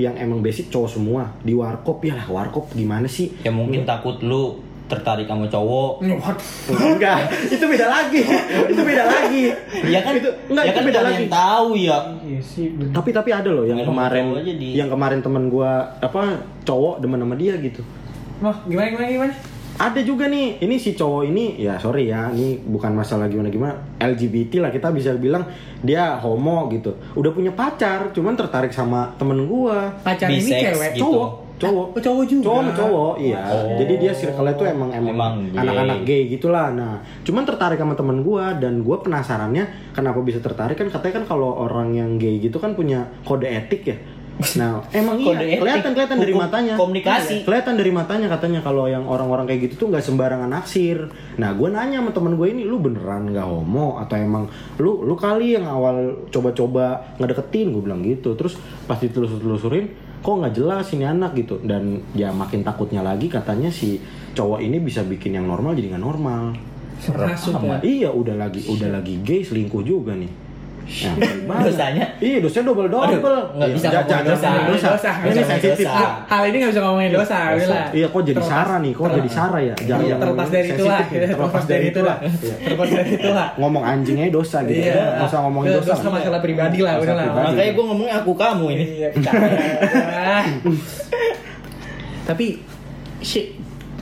C: yang emang basic cowok semua di warkop ya lah warkop gimana sih
B: Ya mungkin
C: Hmm.
B: takut lu tertarik sama cowok.
C: enggak itu beda lagi itu beda lagi
B: Ya kan
C: itu enggak
B: ya
C: itu
B: kan
C: beda
B: pengen
C: lagi
B: tahu ya.
A: Iya sih. bener.
C: tapi tapi ada loh yang
B: Pengen
C: kemarin
B: cowok aja di-
C: yang kemarin temen gue apa cowok demen sama dia gitu
A: Wah, gimana gimana gimana?
C: ada juga nih ini si cowok ini ya sorry ya ini bukan masalah gimana gimana LGBT lah kita bisa bilang dia homo gitu udah punya pacar cuman tertarik sama temen gua
A: Pacar ini
B: Bisex
A: cewek.
B: gitu.
C: cowok cowok
A: Oh, cowok juga.
C: cowok sama cowok iya
B: Oh.
C: jadi dia circle itu emang emang
B: Emang gay.
C: anak-anak gay gitulah nah cuman tertarik sama temen gua dan gua penasarannya kenapa bisa tertarik kan katanya kan kalau orang yang gay gitu kan punya kode etik ya nah emang
B: Kode
C: iya
B: etik.
C: kelihatan kelihatan dari
B: Hukum
C: matanya
B: komunikasi.
C: Iya, kelihatan dari matanya katanya kalau yang orang-orang kayak gitu tuh nggak sembarangan naksir nah gua nanya sama temen gue ini lu beneran nggak homo atau emang lu lu kali yang awal coba-coba ngedeketin gue bilang gitu terus pas ditelusur-telusurin kok nggak jelas ini anak gitu dan ya makin takutnya lagi katanya si cowok ini bisa bikin yang normal jadi nggak normal
A: Masuk ya.
C: iya udah lagi udah lagi gay selingkuh juga nih Ya, ngeri banget.
B: Dosanya?
C: Iya, dosanya double double. Iya.
B: Aduh, nggak bisa ngomongin dosa.
A: Dosa.
C: Ini
A: Dosa.
C: sensitif.
B: Dosa.
A: Ah, Hal ini nggak bisa ngomongin dosa, Wila.
C: Iya, kok jadi
A: Terlepas-
C: Sarah nih? Kok
A: terlepas-
C: jadi Sarah ya? Jangan
A: Iya,
C: jangan
A: terlepas dari
C: sensitif ya.
A: itulah.
C: nih,
A: Terlepas dari itulah.
C: Iya.
A: Terlepas dari itulah.
C: Ngomong anjingnya dosa gitu.
A: Iya.
C: Nggak usah ngomongin
A: Nggak
C: dosa.
A: usah masalah pribadi lah,
C: Masalah
A: udah lah.
C: pribadi.
B: Makanya gue ngomongnya aku kamu ini.
A: Iya, bercanda. Ah. Tapi shit.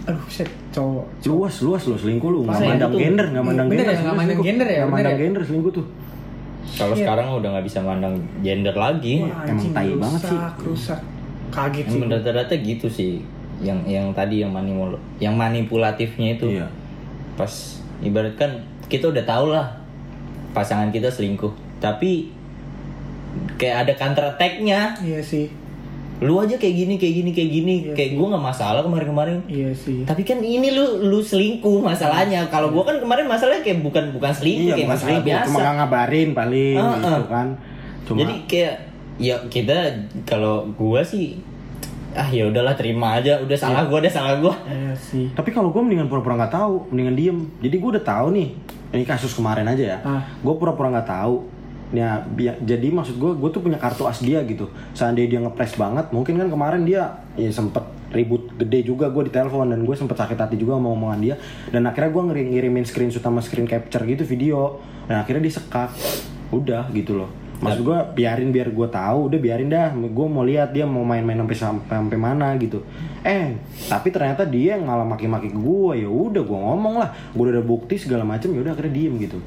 A: Aduh, shit, cowok.
C: Luas, luas lu selingkuh lu. Nggak
A: Masa ya,
C: mandang
A: itu-
C: gender, nggak mandang
A: Bener ya,
C: gender.
A: nggak mandang
C: selingkuh.
A: gender ya,
C: Nggak
A: bener
C: mandang
A: ya.
C: gender selingkuh tuh.
B: Kalau sekarang udah nggak bisa mandang gender lagi.
A: Wah,
C: emang
A: anjing,
C: tai
A: rusak,
C: banget sih.
A: rusak kaget sih
B: Emang rata-rata gitu sih. Yang yang tadi yang manipul yang manipulatifnya itu.
C: Iya.
B: Pas ibaratkan kita udah tau lah pasangan kita selingkuh, tapi kayak ada counter attack-nya.
A: iya sih
B: Lu aja kayak gini, kayak gini, kayak gini.
A: Iya
B: kayak gua nggak masalah kemarin-kemarin.
A: iya sih
B: Tapi kan ini lu lu selingkuh masalahnya. Kalau gua kan kemarin masalahnya kayak bukan bukan selingkuh,
C: Iya,
B: kayak
C: bukan
B: masalah
C: selingkuh,
B: biasa.
C: cuma nggak ngabarin
A: Ah,
C: paling
B: Heeh.
C: gitu kan. Cuma
B: Jadi kayak ya kita kalau gua sih ah ya udahlah terima aja udah salah gua udah salah gua.
A: iya sih
C: tapi kalau gue mendingan pura-pura nggak tahu, mendingan diem. Jadi gue udah tahu nih, ini kasus kemarin aja ya.
A: Ah.
C: Gue pura-pura nggak tahu. Ya, bi- jadi maksud gue, gue tuh punya kartu as dia gitu. Seandainya dia ngepres banget, mungkin kan kemarin dia ya sempet ribut gede juga gue di telepon dan gue sempet sakit hati juga sama omongan dia dan akhirnya gue ngiri- ngirimin screenshot sama screen capture gitu video dan akhirnya dia sekak udah gitu loh maksud gue biarin biar gue tahu udah biarin dah gue mau lihat dia mau main-main sampai sampai sampai mana gitu eh tapi ternyata dia yang malah maki-maki gue ya udah gue ngomong lah gue udah ada bukti segala macam ya udah akhirnya diem gitu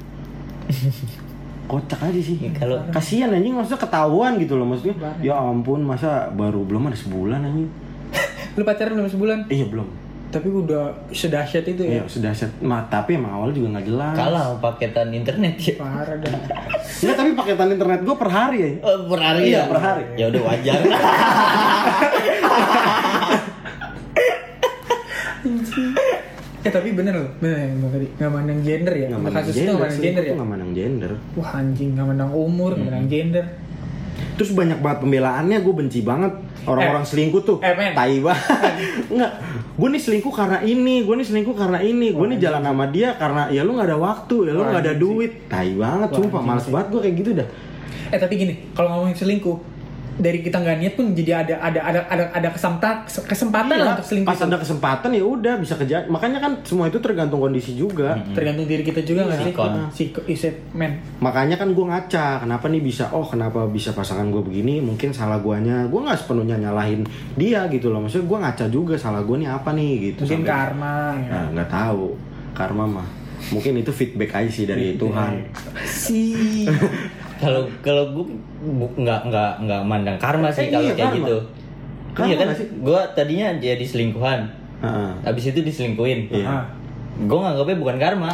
C: kocak aja sih
A: Iya,
B: Ya, kalau-
C: kasihan anjing maksudnya ketahuan gitu loh maksudnya
A: Parah.
C: ya ampun masa baru belum ada sebulan anjing
A: lu pacaran belum sebulan
C: iya belum
A: tapi udah sedahsyat itu ya
C: iya sudah set Ma, tapi emang awalnya juga nggak jelas
B: Kalah sama paketan internet ya.
A: parah dah
C: Nggak, tapi paketan internet gue per hari ya
B: Eh, per hari
C: Iya,
B: ya.
C: per hari.
B: Ya udah wajar.
A: eh tapi bener loh bener yang bilang tadi nggak mandang gender ya
C: nggak
A: Untuk
C: mandang
A: kasus itu nggak
C: gender
A: mandang
C: selingkuh
A: gender ya
C: tuh nggak Hmm. mandang gender
A: wah anjing nggak mandang umur nggak mandang gender
C: terus banyak banget pembelaannya gue benci banget orang-orang
A: Eh,
C: selingkuh tuh
A: eh, men.
C: tai banget nggak gue nih selingkuh karena ini gue nih selingkuh karena ini gue nih jalan sama dia karena ya lu nggak ada waktu ya lu
A: Wah,
C: nggak ada
A: anjing sih.
C: duit tai banget
A: Wah,
C: sumpah
A: anjing
C: males
A: sih.
C: banget gue kayak gitu dah
A: eh tapi gini kalau ngomongin selingkuh dari kita nggak niat pun jadi ada ada ada ada, ada kesempat- kesempatan
C: Iya,
A: lah untuk selingkuh
C: pas
A: itu.
C: ada kesempatan ya udah bisa kerja makanya kan semua itu tergantung kondisi juga
A: tergantung diri kita juga nggak sih Hmm.
B: Sikon.
A: Siko, isip, men
C: makanya kan gue ngaca kenapa nih bisa oh kenapa bisa pasangan gue begini mungkin salah guanya gue nggak sepenuhnya nyalahin dia gitu loh maksudnya gue ngaca juga salah gue nih apa nih gitu
A: mungkin
C: Sampai-
A: karma ya.
C: Nah, nggak tahu karma mah. Mungkin itu feedback aja sih dari Tuhan.
A: si
B: Kalau kalau gua bu- nggak nggak nggak mandang karma sih
C: Eh,
B: kalau
C: iya,
B: kayak
C: karma.
B: gitu.
C: Karma
B: iya kan
C: nggak sih?
B: gua tadinya jadi selingkuhan.
C: Heeh.
B: Habis itu diselingkuhin.
C: Iya.
A: Ah.
B: Gua nganggapnya bukan karma.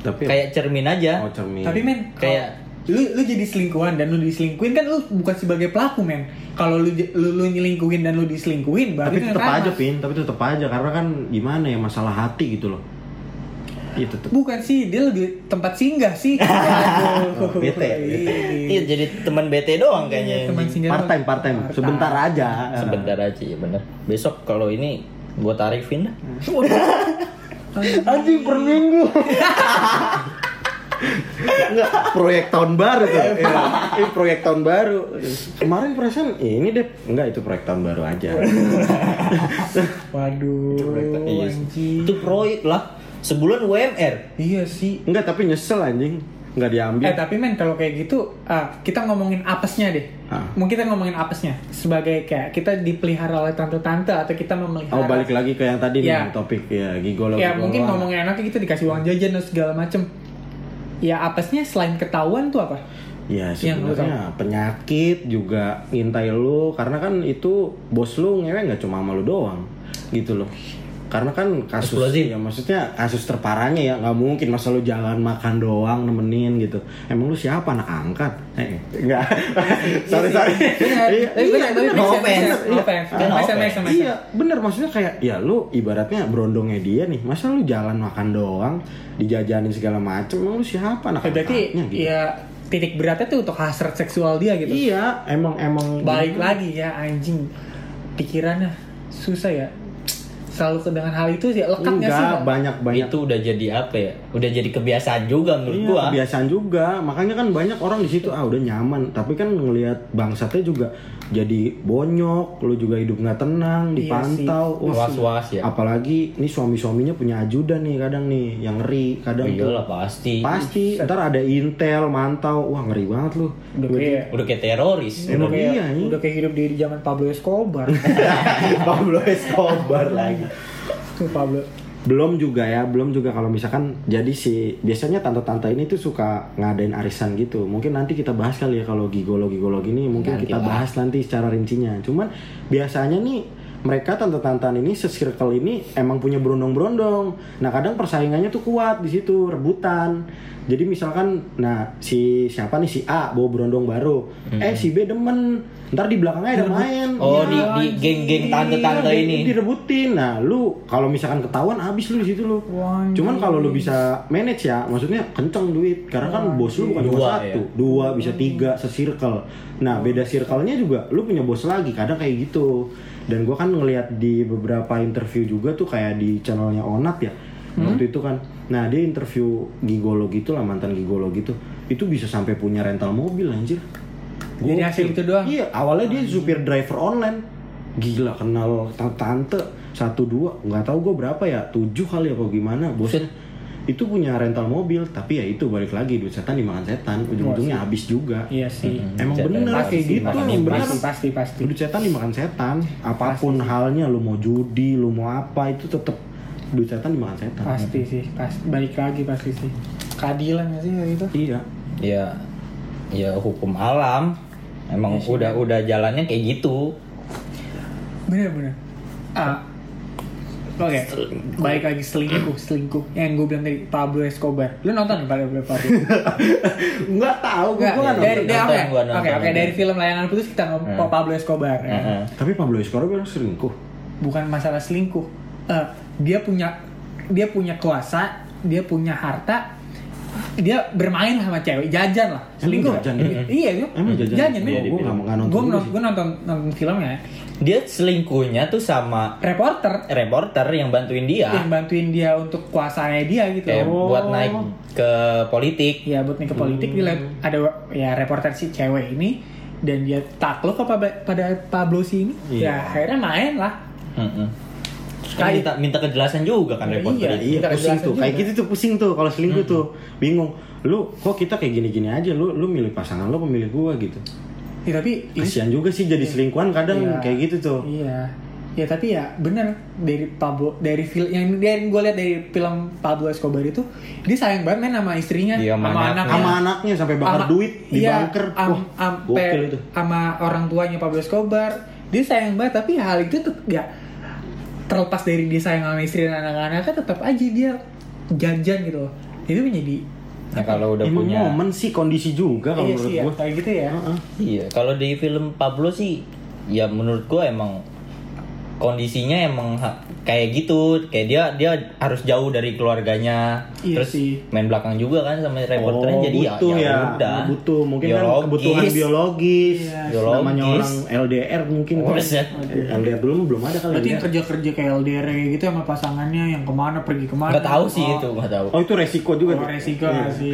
C: Tapi
B: Kayak cermin aja.
C: oh, cermin.
A: tapi men kalau
B: Kayak-
A: lu lu jadi selingkuhan dan lu diselingkuhin kan lu bukan sebagai pelaku men kalau lu lu, lu nyelingkuhin dan lu diselingkuhin
C: tapi
A: berarti itu
C: tetap
A: karma.
C: aja pin, tapi tetap aja karena kan gimana ya masalah hati gitu loh. Iya tetap.
A: bukan sih dia lebih tempat singgah sih
C: Oh, bete ya, bete.
A: Iya.
B: Iya jadi teman BT
C: Iya,
B: doang kayaknya.
A: teman
B: anjing.
A: singgah
C: Part time, part time. Sebentar aja.
B: Sebentar aja ya bener. Besok kalau ini gua tarifin dah.
C: Anjing per minggu. Enggak, proyek tahun baru tuh. Iya. Ini proyek tahun baru. Kemarin perasaan "Eh, ini deh, enggak itu proyek tahun baru aja.
A: waduh
C: Oh,
B: Iya.
A: anjing
B: Itu proyek lah. Sebulan UMR.
A: iya sih
C: Enggak, tapi nyesel anjing. Enggak diambil.
A: Eh tapi men kalau kayak gitu ah, kita ngomongin apesnya deh.
C: Ah.
A: Mungkin kita ngomongin apesnya sebagai kayak kita dipelihara oleh tante-tante atau kita memelihara.
C: Oh balik lagi ke yang tadi
A: Ya.
C: nih topik ya gigolo.
A: Ya
C: gigoloan.
A: mungkin ngomongin enaknya kita dikasih uang jajan dan segala macem. Ya apesnya selain ketahuan tuh apa?
C: Ya
A: Yang lu
C: sebenarnya penyakit juga ngintai lu karena kan itu bos lu ngewe nggak cuma sama lu doang gitu loh. Karena kan kasus
B: Eksplosif.
C: ya maksudnya kasus terparahnya ya nggak mungkin masa lu jalan makan doang nemenin gitu. Emang lu siapa anak angkat? Eh, enggak. sorry sorry.
A: Bener.
C: Iya,
A: Tapi bener, tapi
C: bener.
A: make sense,
B: No offense,
A: make sense,
B: no
A: no offense.
B: offense.
A: Make sense, make sense, make sense.
C: Iya, bener maksudnya kayak ya lu ibaratnya berondongnya dia nih. Masa lu jalan makan doang, dijajanin segala macem, emang lu siapa anak
A: Ya, Berarti
C: angkatnya gitu.
A: ya titik beratnya tuh untuk hasrat seksual dia gitu.
C: Iya, emang emang
A: Balik lagi ya anjing. Pikirannya susah ya. Selalu dengan hal itu sih lekat nggak sih?
C: enggak banyak banyak
B: Itu udah jadi apa ya? Udah jadi kebiasaan juga menurut
C: Iya,
B: gua.
C: kebiasaan juga. Makanya kan banyak orang di situ ah udah nyaman, tapi kan ngelihat bangsatnya juga jadi bonyok, lu juga hidup nggak
A: Iya
C: tenang, dipantau,
B: sih.
C: Wah,
B: Was-was ya.
C: Apalagi ini suami-suaminya punya ajudan nih kadang nih yang ngeri, kadang tuh.
B: Iyalah Iya pasti.
C: Pasti ntar ada intel mantau. Wah, ngeri banget lu.
A: Udah kayak
B: Udah kayak teroris.
A: udah
C: Emang
A: kayak
C: iya, iya.
A: udah kayak hidup di zaman Pablo Escobar.
C: Pablo Escobar lagi.
A: Tuh Pablo
C: belum juga ya belum juga kalau misalkan jadi si biasanya tante-tante ini tuh suka ngadain arisan gitu mungkin nanti kita bahas kali ya kalau gigolo gigolo gini mungkin
B: Nanti
C: kita
B: lah.
C: bahas nanti secara rincinya cuman biasanya nih mereka tante-tantan ini se-circle ini emang punya berondong-berondong nah kadang persaingannya tuh kuat di situ rebutan jadi misalkan nah si siapa nih si A bawa berondong baru eh si B demen ntar di belakangnya ada main
B: Hmm. Oh,
C: Iya.
B: di, di geng-geng tante-tante
C: Iya,
B: ini.
C: jadi direbutin. Nah, lu kalau misalkan ketahuan habis lu di situ lu.
A: Wah,
C: Cuman kalau lu bisa manage ya, maksudnya kenceng duit. Karena kan bos lu bukan
B: Dua,
C: cuma satu,
B: ya?
C: dua Hmm. bisa tiga se-circle. Nah, beda circle-nya juga lu punya bos lagi, kadang kayak gitu. Dan gua kan ngelihat di beberapa interview juga tuh kayak di channelnya Onat ya. Waktu itu kan. Nah, dia interview gigolo gitu lah, mantan gigolo gitu. Itu bisa sampai punya rental mobil anjir.
A: Jadi
C: Gokil.
A: hasil itu doang?
C: Iya, awalnya dia supir driver online. Gila kenal ta- tante satu dua nggak tahu gue berapa ya tujuh kali apa gimana bosnya itu punya rental mobil tapi ya itu balik lagi duit setan dimakan setan ujung-ujungnya habis juga
A: Iya sih.
C: emang
B: Setan
C: bener
B: pasti
C: kayak
B: sih,
C: gitu
B: makan
C: emang
B: imbas.
C: bener
A: Pasti, pasti, pasti.
C: duit setan dimakan setan apapun halnya lu mau judi lu mau apa itu tetap duit setan dimakan setan
A: Pasti sih, pasti. Balik lagi pasti sih. Keadilan gak sih kayak gitu?
C: iya
B: Ya, ya hukum alam. Emang
C: Iya
B: udah udah jalannya kayak gitu.
A: Bener-bener. Ah, Oke, balik lagi selingkuh, selingkuh. Yang gue bilang tadi, Pablo Escobar. Lu nonton Pablo Escobar?
C: nggak tahu gue
A: Enggak,
C: nggak
A: dari, dari-
C: nonton.
A: ya?
B: Nonton,
A: oke.
B: gua nonton.
A: Oke, oke, dari film Layangan Putus kita ngomong
B: Hmm.
A: Pablo Escobar. ya.
B: Heeh.
C: tapi Pablo Escobar bilang selingkuh
A: Bukan masalah selingkuh. Eh, dia punya dia punya kuasa, dia punya harta, dia bermain sama cewek, jajan lah. Selingkuh.
C: jajan
A: nggak?
C: dia?
A: Iya, iya.
C: Emang jajan?
A: Jajan.
C: Iya,
A: Gue
C: gua nggak- nggak nonton dulu
A: nonton,
C: sih.
A: gua nonton, nonton filmnya. ya.
B: Dia selingkuhnya tuh sama
A: Reporter
B: reporter yang bantuin dia
C: Iya,
A: yang bantuin dia untuk kuasanya dia gitu.
B: kayak Iya. buat naik ke politik.
A: ya buat nih ke politik dia liat ada ya reporter si cewek ini dan dia takluk apa ba- pada Pablo si ini ya
C: Iya.
A: akhirnya main lah
B: Heeh. Terus kan
A: Kayak-
B: minta minta kejelasan juga kan
A: Iya,
B: reporter
A: iya.
B: itu.
C: Iya
A: Kita ada
C: pusing
A: jelasan
C: tuh, kayak
A: juga. Hmm.
C: gitu tuh pusing tuh kalau selingkuh tuh bingung. Lu kok kita kayak gini-gini aja, lu lu milih pasangan lu pemilih gua gitu.
A: ya tapi ini-
C: Kasihan juga sih jadi selingkuhan kadang
A: Iya.
C: kayak gitu tuh.
A: iya ya tapi ya bener dari Pablo dari film yang dari gue lihat dari film Pablo Escobar itu dia sayang banget main sama istrinya
B: Iya, sama anaknya.
C: Sama anaknya sampai bakar
A: Ama-
C: duit di
A: iya,
C: bunker.
A: am-
C: Wah,
A: ampe-
C: gokil itu.
A: Sama orang tuanya Pablo Escobar. Dia sayang banget tapi hal itu tetap ya terlepas dari dia sayang sama istri dan anak-anaknya tetap aja dia jajan gitu loh. Itu menjadi
B: Nah, kalau udah
C: Emang
B: punya
C: momen sih kondisi juga kalau
A: iya
C: menurut
A: sih ya,
C: gua.
A: kayak gitu ya.
C: Heeh.
B: Iya, kalau di film Pablo sih ya menurut gua emang kondisinya emang ha- kayak gitu, kayak dia dia harus jauh dari keluarganya.
A: Iya
B: Terus
A: sih.
B: main belakang juga kan sama reporternya jadi ya
C: butuh ya,
B: udah.
C: butuh mungkin kan
B: Biologis.
C: kebutuhan biologis,
A: Iya.
B: Biologis. Oh,
C: namanya orang LDR mungkin kan.
B: Buset.
C: LDR belum belum ada kali
A: Berarti
C: ya.
A: yang kerja-kerja kayak LDR kayak gitu sama pasangannya yang kemana pergi kemana.
B: Nggak tahu sih
A: Oh,
B: itu, nggak tahu.
C: Oh itu resiko juga
A: Oh,
C: tuh.
A: resiko
C: Iya.
A: nggak sih.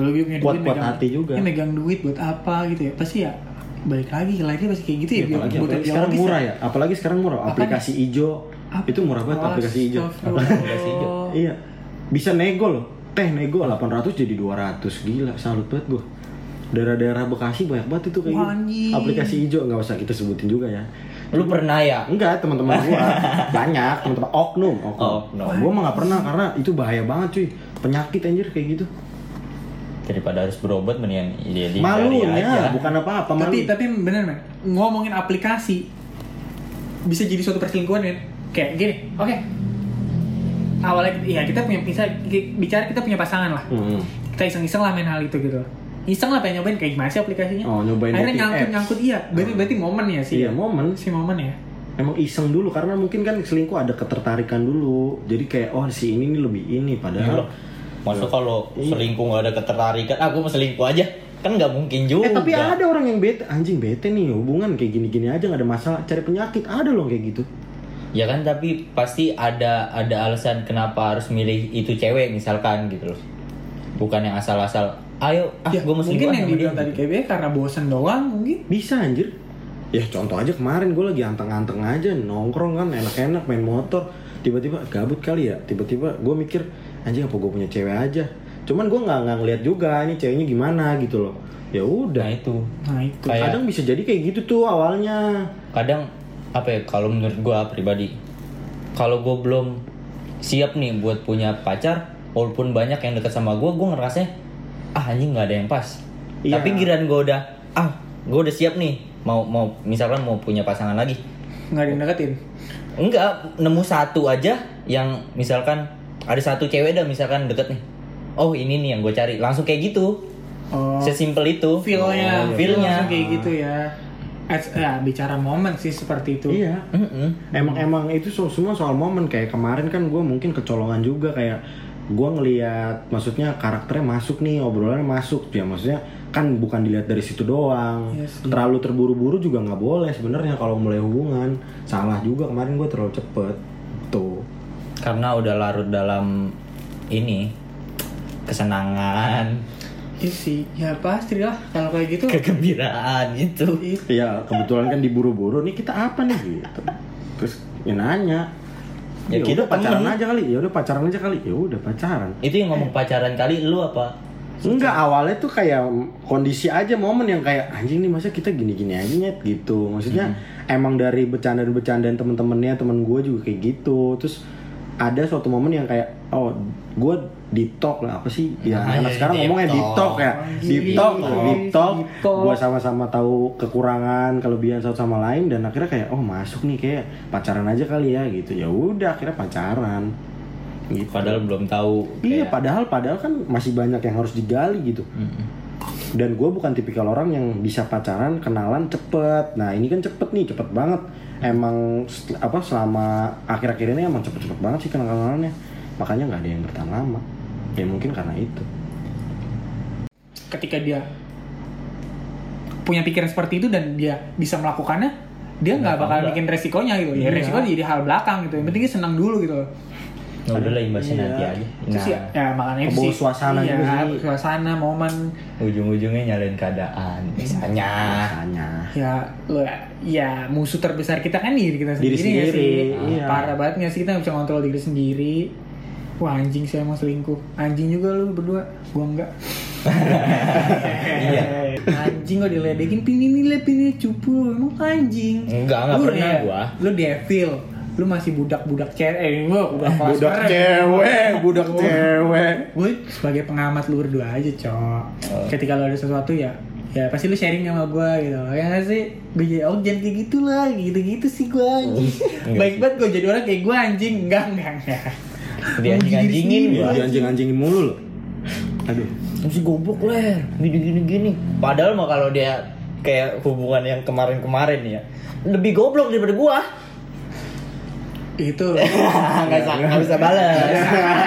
A: Lu gitu punya duit,
C: Kuat-kuat
A: megang-
C: hati juga.
A: Ya, megang duit buat apa gitu ya. Pasti ya balik lagi, lagi pasti kayak gitu ya. biar
C: Iya, apalagi,
A: kebutuhan
C: apalagi sekarang
A: biologis
C: murah ya apalagi sekarang murah aplikasi ijo
A: Apa?
C: itu murah banget aplikasi ijo
A: Aplikasi hijau.
C: iya bisa nego loh teh nego 800 jadi 200 gila salut banget gua daerah-daerah Bekasi banyak banget itu kayak
A: Wah,
C: gitu.
A: anjing.
C: aplikasi ijo nggak usah kita sebutin juga ya
B: Lu pernah ya?
C: enggak teman-teman gua banyak teman-teman oknum oknum
B: Oh, oknum.
C: gua mah nggak pernah karena itu bahaya banget cuy penyakit anjir kayak gitu
B: Daripada harus berobat mendingan dia di dari
C: malunya
B: aja.
C: bukan apa-apa malu
A: Tapi tapi bener men, ngomongin aplikasi bisa jadi suatu perselingkuhan men. Kayak gini, oke. Awalnya ya kita punya bisa bicara kita punya pasangan lah.
C: Mm-mm.
A: Kita iseng-iseng lah main hal itu gitu. Iseng lah pengen nyobain kayak gimana sih aplikasinya.
C: Oh, nyobain
A: Akhirnya
C: dating
A: nyangkut
C: apps.
A: nyangkut iya. Berarti berarti momen ya sih.
C: iya momen
A: Si momen ya.
C: emang iseng dulu karena mungkin kan selingkuh ada ketertarikan dulu jadi kayak oh si ini nih lebih ini padahal
B: Masa
C: Iya.
B: kalau selingkuh gak ada ketertarikan, aku mau selingkuh aja. Kan nggak mungkin juga.
C: eh tapi ada orang yang bete anjing bete nih hubungan kayak gini-gini aja nggak ada masalah cari penyakit ada loh kayak gitu
B: Ya kan tapi pasti ada ada alasan kenapa harus milih itu cewek misalkan gitu loh. Bukan yang asal-asal. Ayo, ah
A: Ya,
B: gue mau
A: mungkin
B: selingkuhan
A: yang
B: sama dia.
A: dibilang tadi kayak karena bosen doang mungkin.
C: bisa anjir ya contoh aja kemarin gue lagi anteng-anteng aja nongkrong kan enak-enak main motor tiba-tiba gabut kali ya tiba-tiba gue mikir anjing apa gue punya cewek aja cuman gue nggak nggak ngeliat juga ini ceweknya gimana gitu loh ya
B: Nah
C: udah
B: itu.
A: Nah itu.
B: Kayak-
C: kadang bisa jadi kayak gitu tuh awalnya
B: Kadang apa ya kalau menurut gua pribadi kalau gue belum siap nih buat punya pacar walaupun banyak yang dekat sama gue gue ngerasanya ah anjing nggak ada yang pas
A: Iya.
B: tapi giran gue udah ah gue udah siap nih mau mau misalkan mau punya pasangan lagi
A: nggak ada yang deketin
B: enggak nemu satu aja yang misalkan ada satu cewek dah misalkan deket nih oh ini nih yang gue cari langsung kayak gitu
A: oh
B: sesimpel itu
C: iya,
A: feelnya
B: Oh,
A: feel
B: feelnya
C: Ah.
A: kayak gitu ya As, ya bicara momen sih seperti itu
C: Iya.
B: Mm-mm.
C: Emang emang itu so- semua soal momen kayak kemarin kan gue mungkin kecolongan juga kayak gue ngeliat maksudnya karakternya masuk nih obrolannya masuk ya maksudnya kan bukan dilihat dari situ doang
A: Iya sih.
C: terlalu terburu-buru juga nggak boleh sebenarnya kalau mulai hubungan salah juga kemarin gue terlalu cepet tuh
B: karena udah larut dalam ini kesenangan
A: Iya sih ya pasti lah kalau kayak gitu
B: kegembiraan gitu. itu
A: Iya.
C: ya kebetulan kan diburu-buru nih kita apa nih gitu terus ya nanya
B: Ya,
C: ya,
B: kita
C: udah pacaran
B: temen.
C: aja kali ya udah pacaran aja kali ya udah pacaran
B: itu yang ngomong pacaran kali lu apa
C: Enggak, awalnya tuh kayak kondisi aja momen yang kayak anjing nih masa kita gini-gini aja nyet gitu. Maksudnya emang dari bercandaan-bercandaan temen-temennya, temen gue juga kayak gitu. Terus ada suatu momen yang kayak oh gue deep talk lah apa sih ya
B: Namanya
C: anak sekarang
B: deep
C: ngomongnya deep talk
B: talk.
C: ya
A: Anjing.
C: deep talk deep talk
A: Gitu. Deep talk.
C: gue sama-sama tahu kekurangan kelebihan satu sama lain dan akhirnya kayak oh masuk nih kayak pacaran aja kali ya gitu ya udah akhirnya pacaran gitu.
B: padahal belum tahu
C: Iya,
B: kayak-
C: padahal padahal kan masih banyak yang harus digali gitu.
B: Mm-mm.
C: Dan gue bukan tipikal orang yang bisa pacaran, kenalan cepet. Nah ini kan cepet nih, cepet banget. Emang set- apa selama akhir-akhir ini emang cepet-cepet banget sih kenal-kenalannya. Makanya nggak ada yang bertahan lama. Ya mungkin karena itu.
A: ketika dia punya pikiran seperti itu dan dia bisa melakukannya dia nggak bakal
B: enggak.
A: bikin resikonya gitu ya
C: Iya.
A: resiko jadi hal belakang gitu yang penting dia senang dulu gitu
B: Nah, udah lah imbasnya
C: Iya.
B: nanti aja
A: terus
B: nah
A: ya, ya makanya itu
C: kebawa
A: sih.
C: suasana
A: iya,
C: juga sih.
A: suasana momen
B: Nah, ujung-ujungnya nyalain keadaan misalnya
C: Makanya.
A: ya lo ya musuh terbesar kita kan diri kita sendiri,
C: Diri
A: nggak
C: sendiri,
A: sih Ah,
C: iya.
A: parah banget nggak sih kita nggak bisa ngontrol diri sendiri wah anjing saya mau selingkuh anjing juga lu berdua gua enggak
B: Iya.
A: anjing gua diledekin pini nilai pini cupu emang anjing
B: Enggak, enggak
A: Lu
B: pernah
A: ya,
B: gua.
A: lu devil lu masih budak-budak cewek eh gua udah kelas
C: Budak
A: keren.
C: cewek, budak
A: Gua-
C: cewek.
A: gue sebagai pengamat lu berdua aja cok
B: Oh.
A: ketika lu ada sesuatu ya ya pasti lu sharing sama gue gitu ya nggak sih gue jadi oh jangan kayak gitu lah gitu gitu sih gue
B: Oh, iya
A: anjing
B: Enggak
A: baik banget gue jadi orang kayak gue anjing enggak enggak enggak
B: dianjing-anjingin
A: Iya.
B: gua
C: Dia anjing-anjingin mulu loh. Aduh.
B: masih goblok ler gini gini gini padahal mah kalau dia kayak hubungan yang kemarin-kemarin ya lebih goblok daripada gua
A: itu Gitu.
B: Ah, nggak bisa nggak bisa balas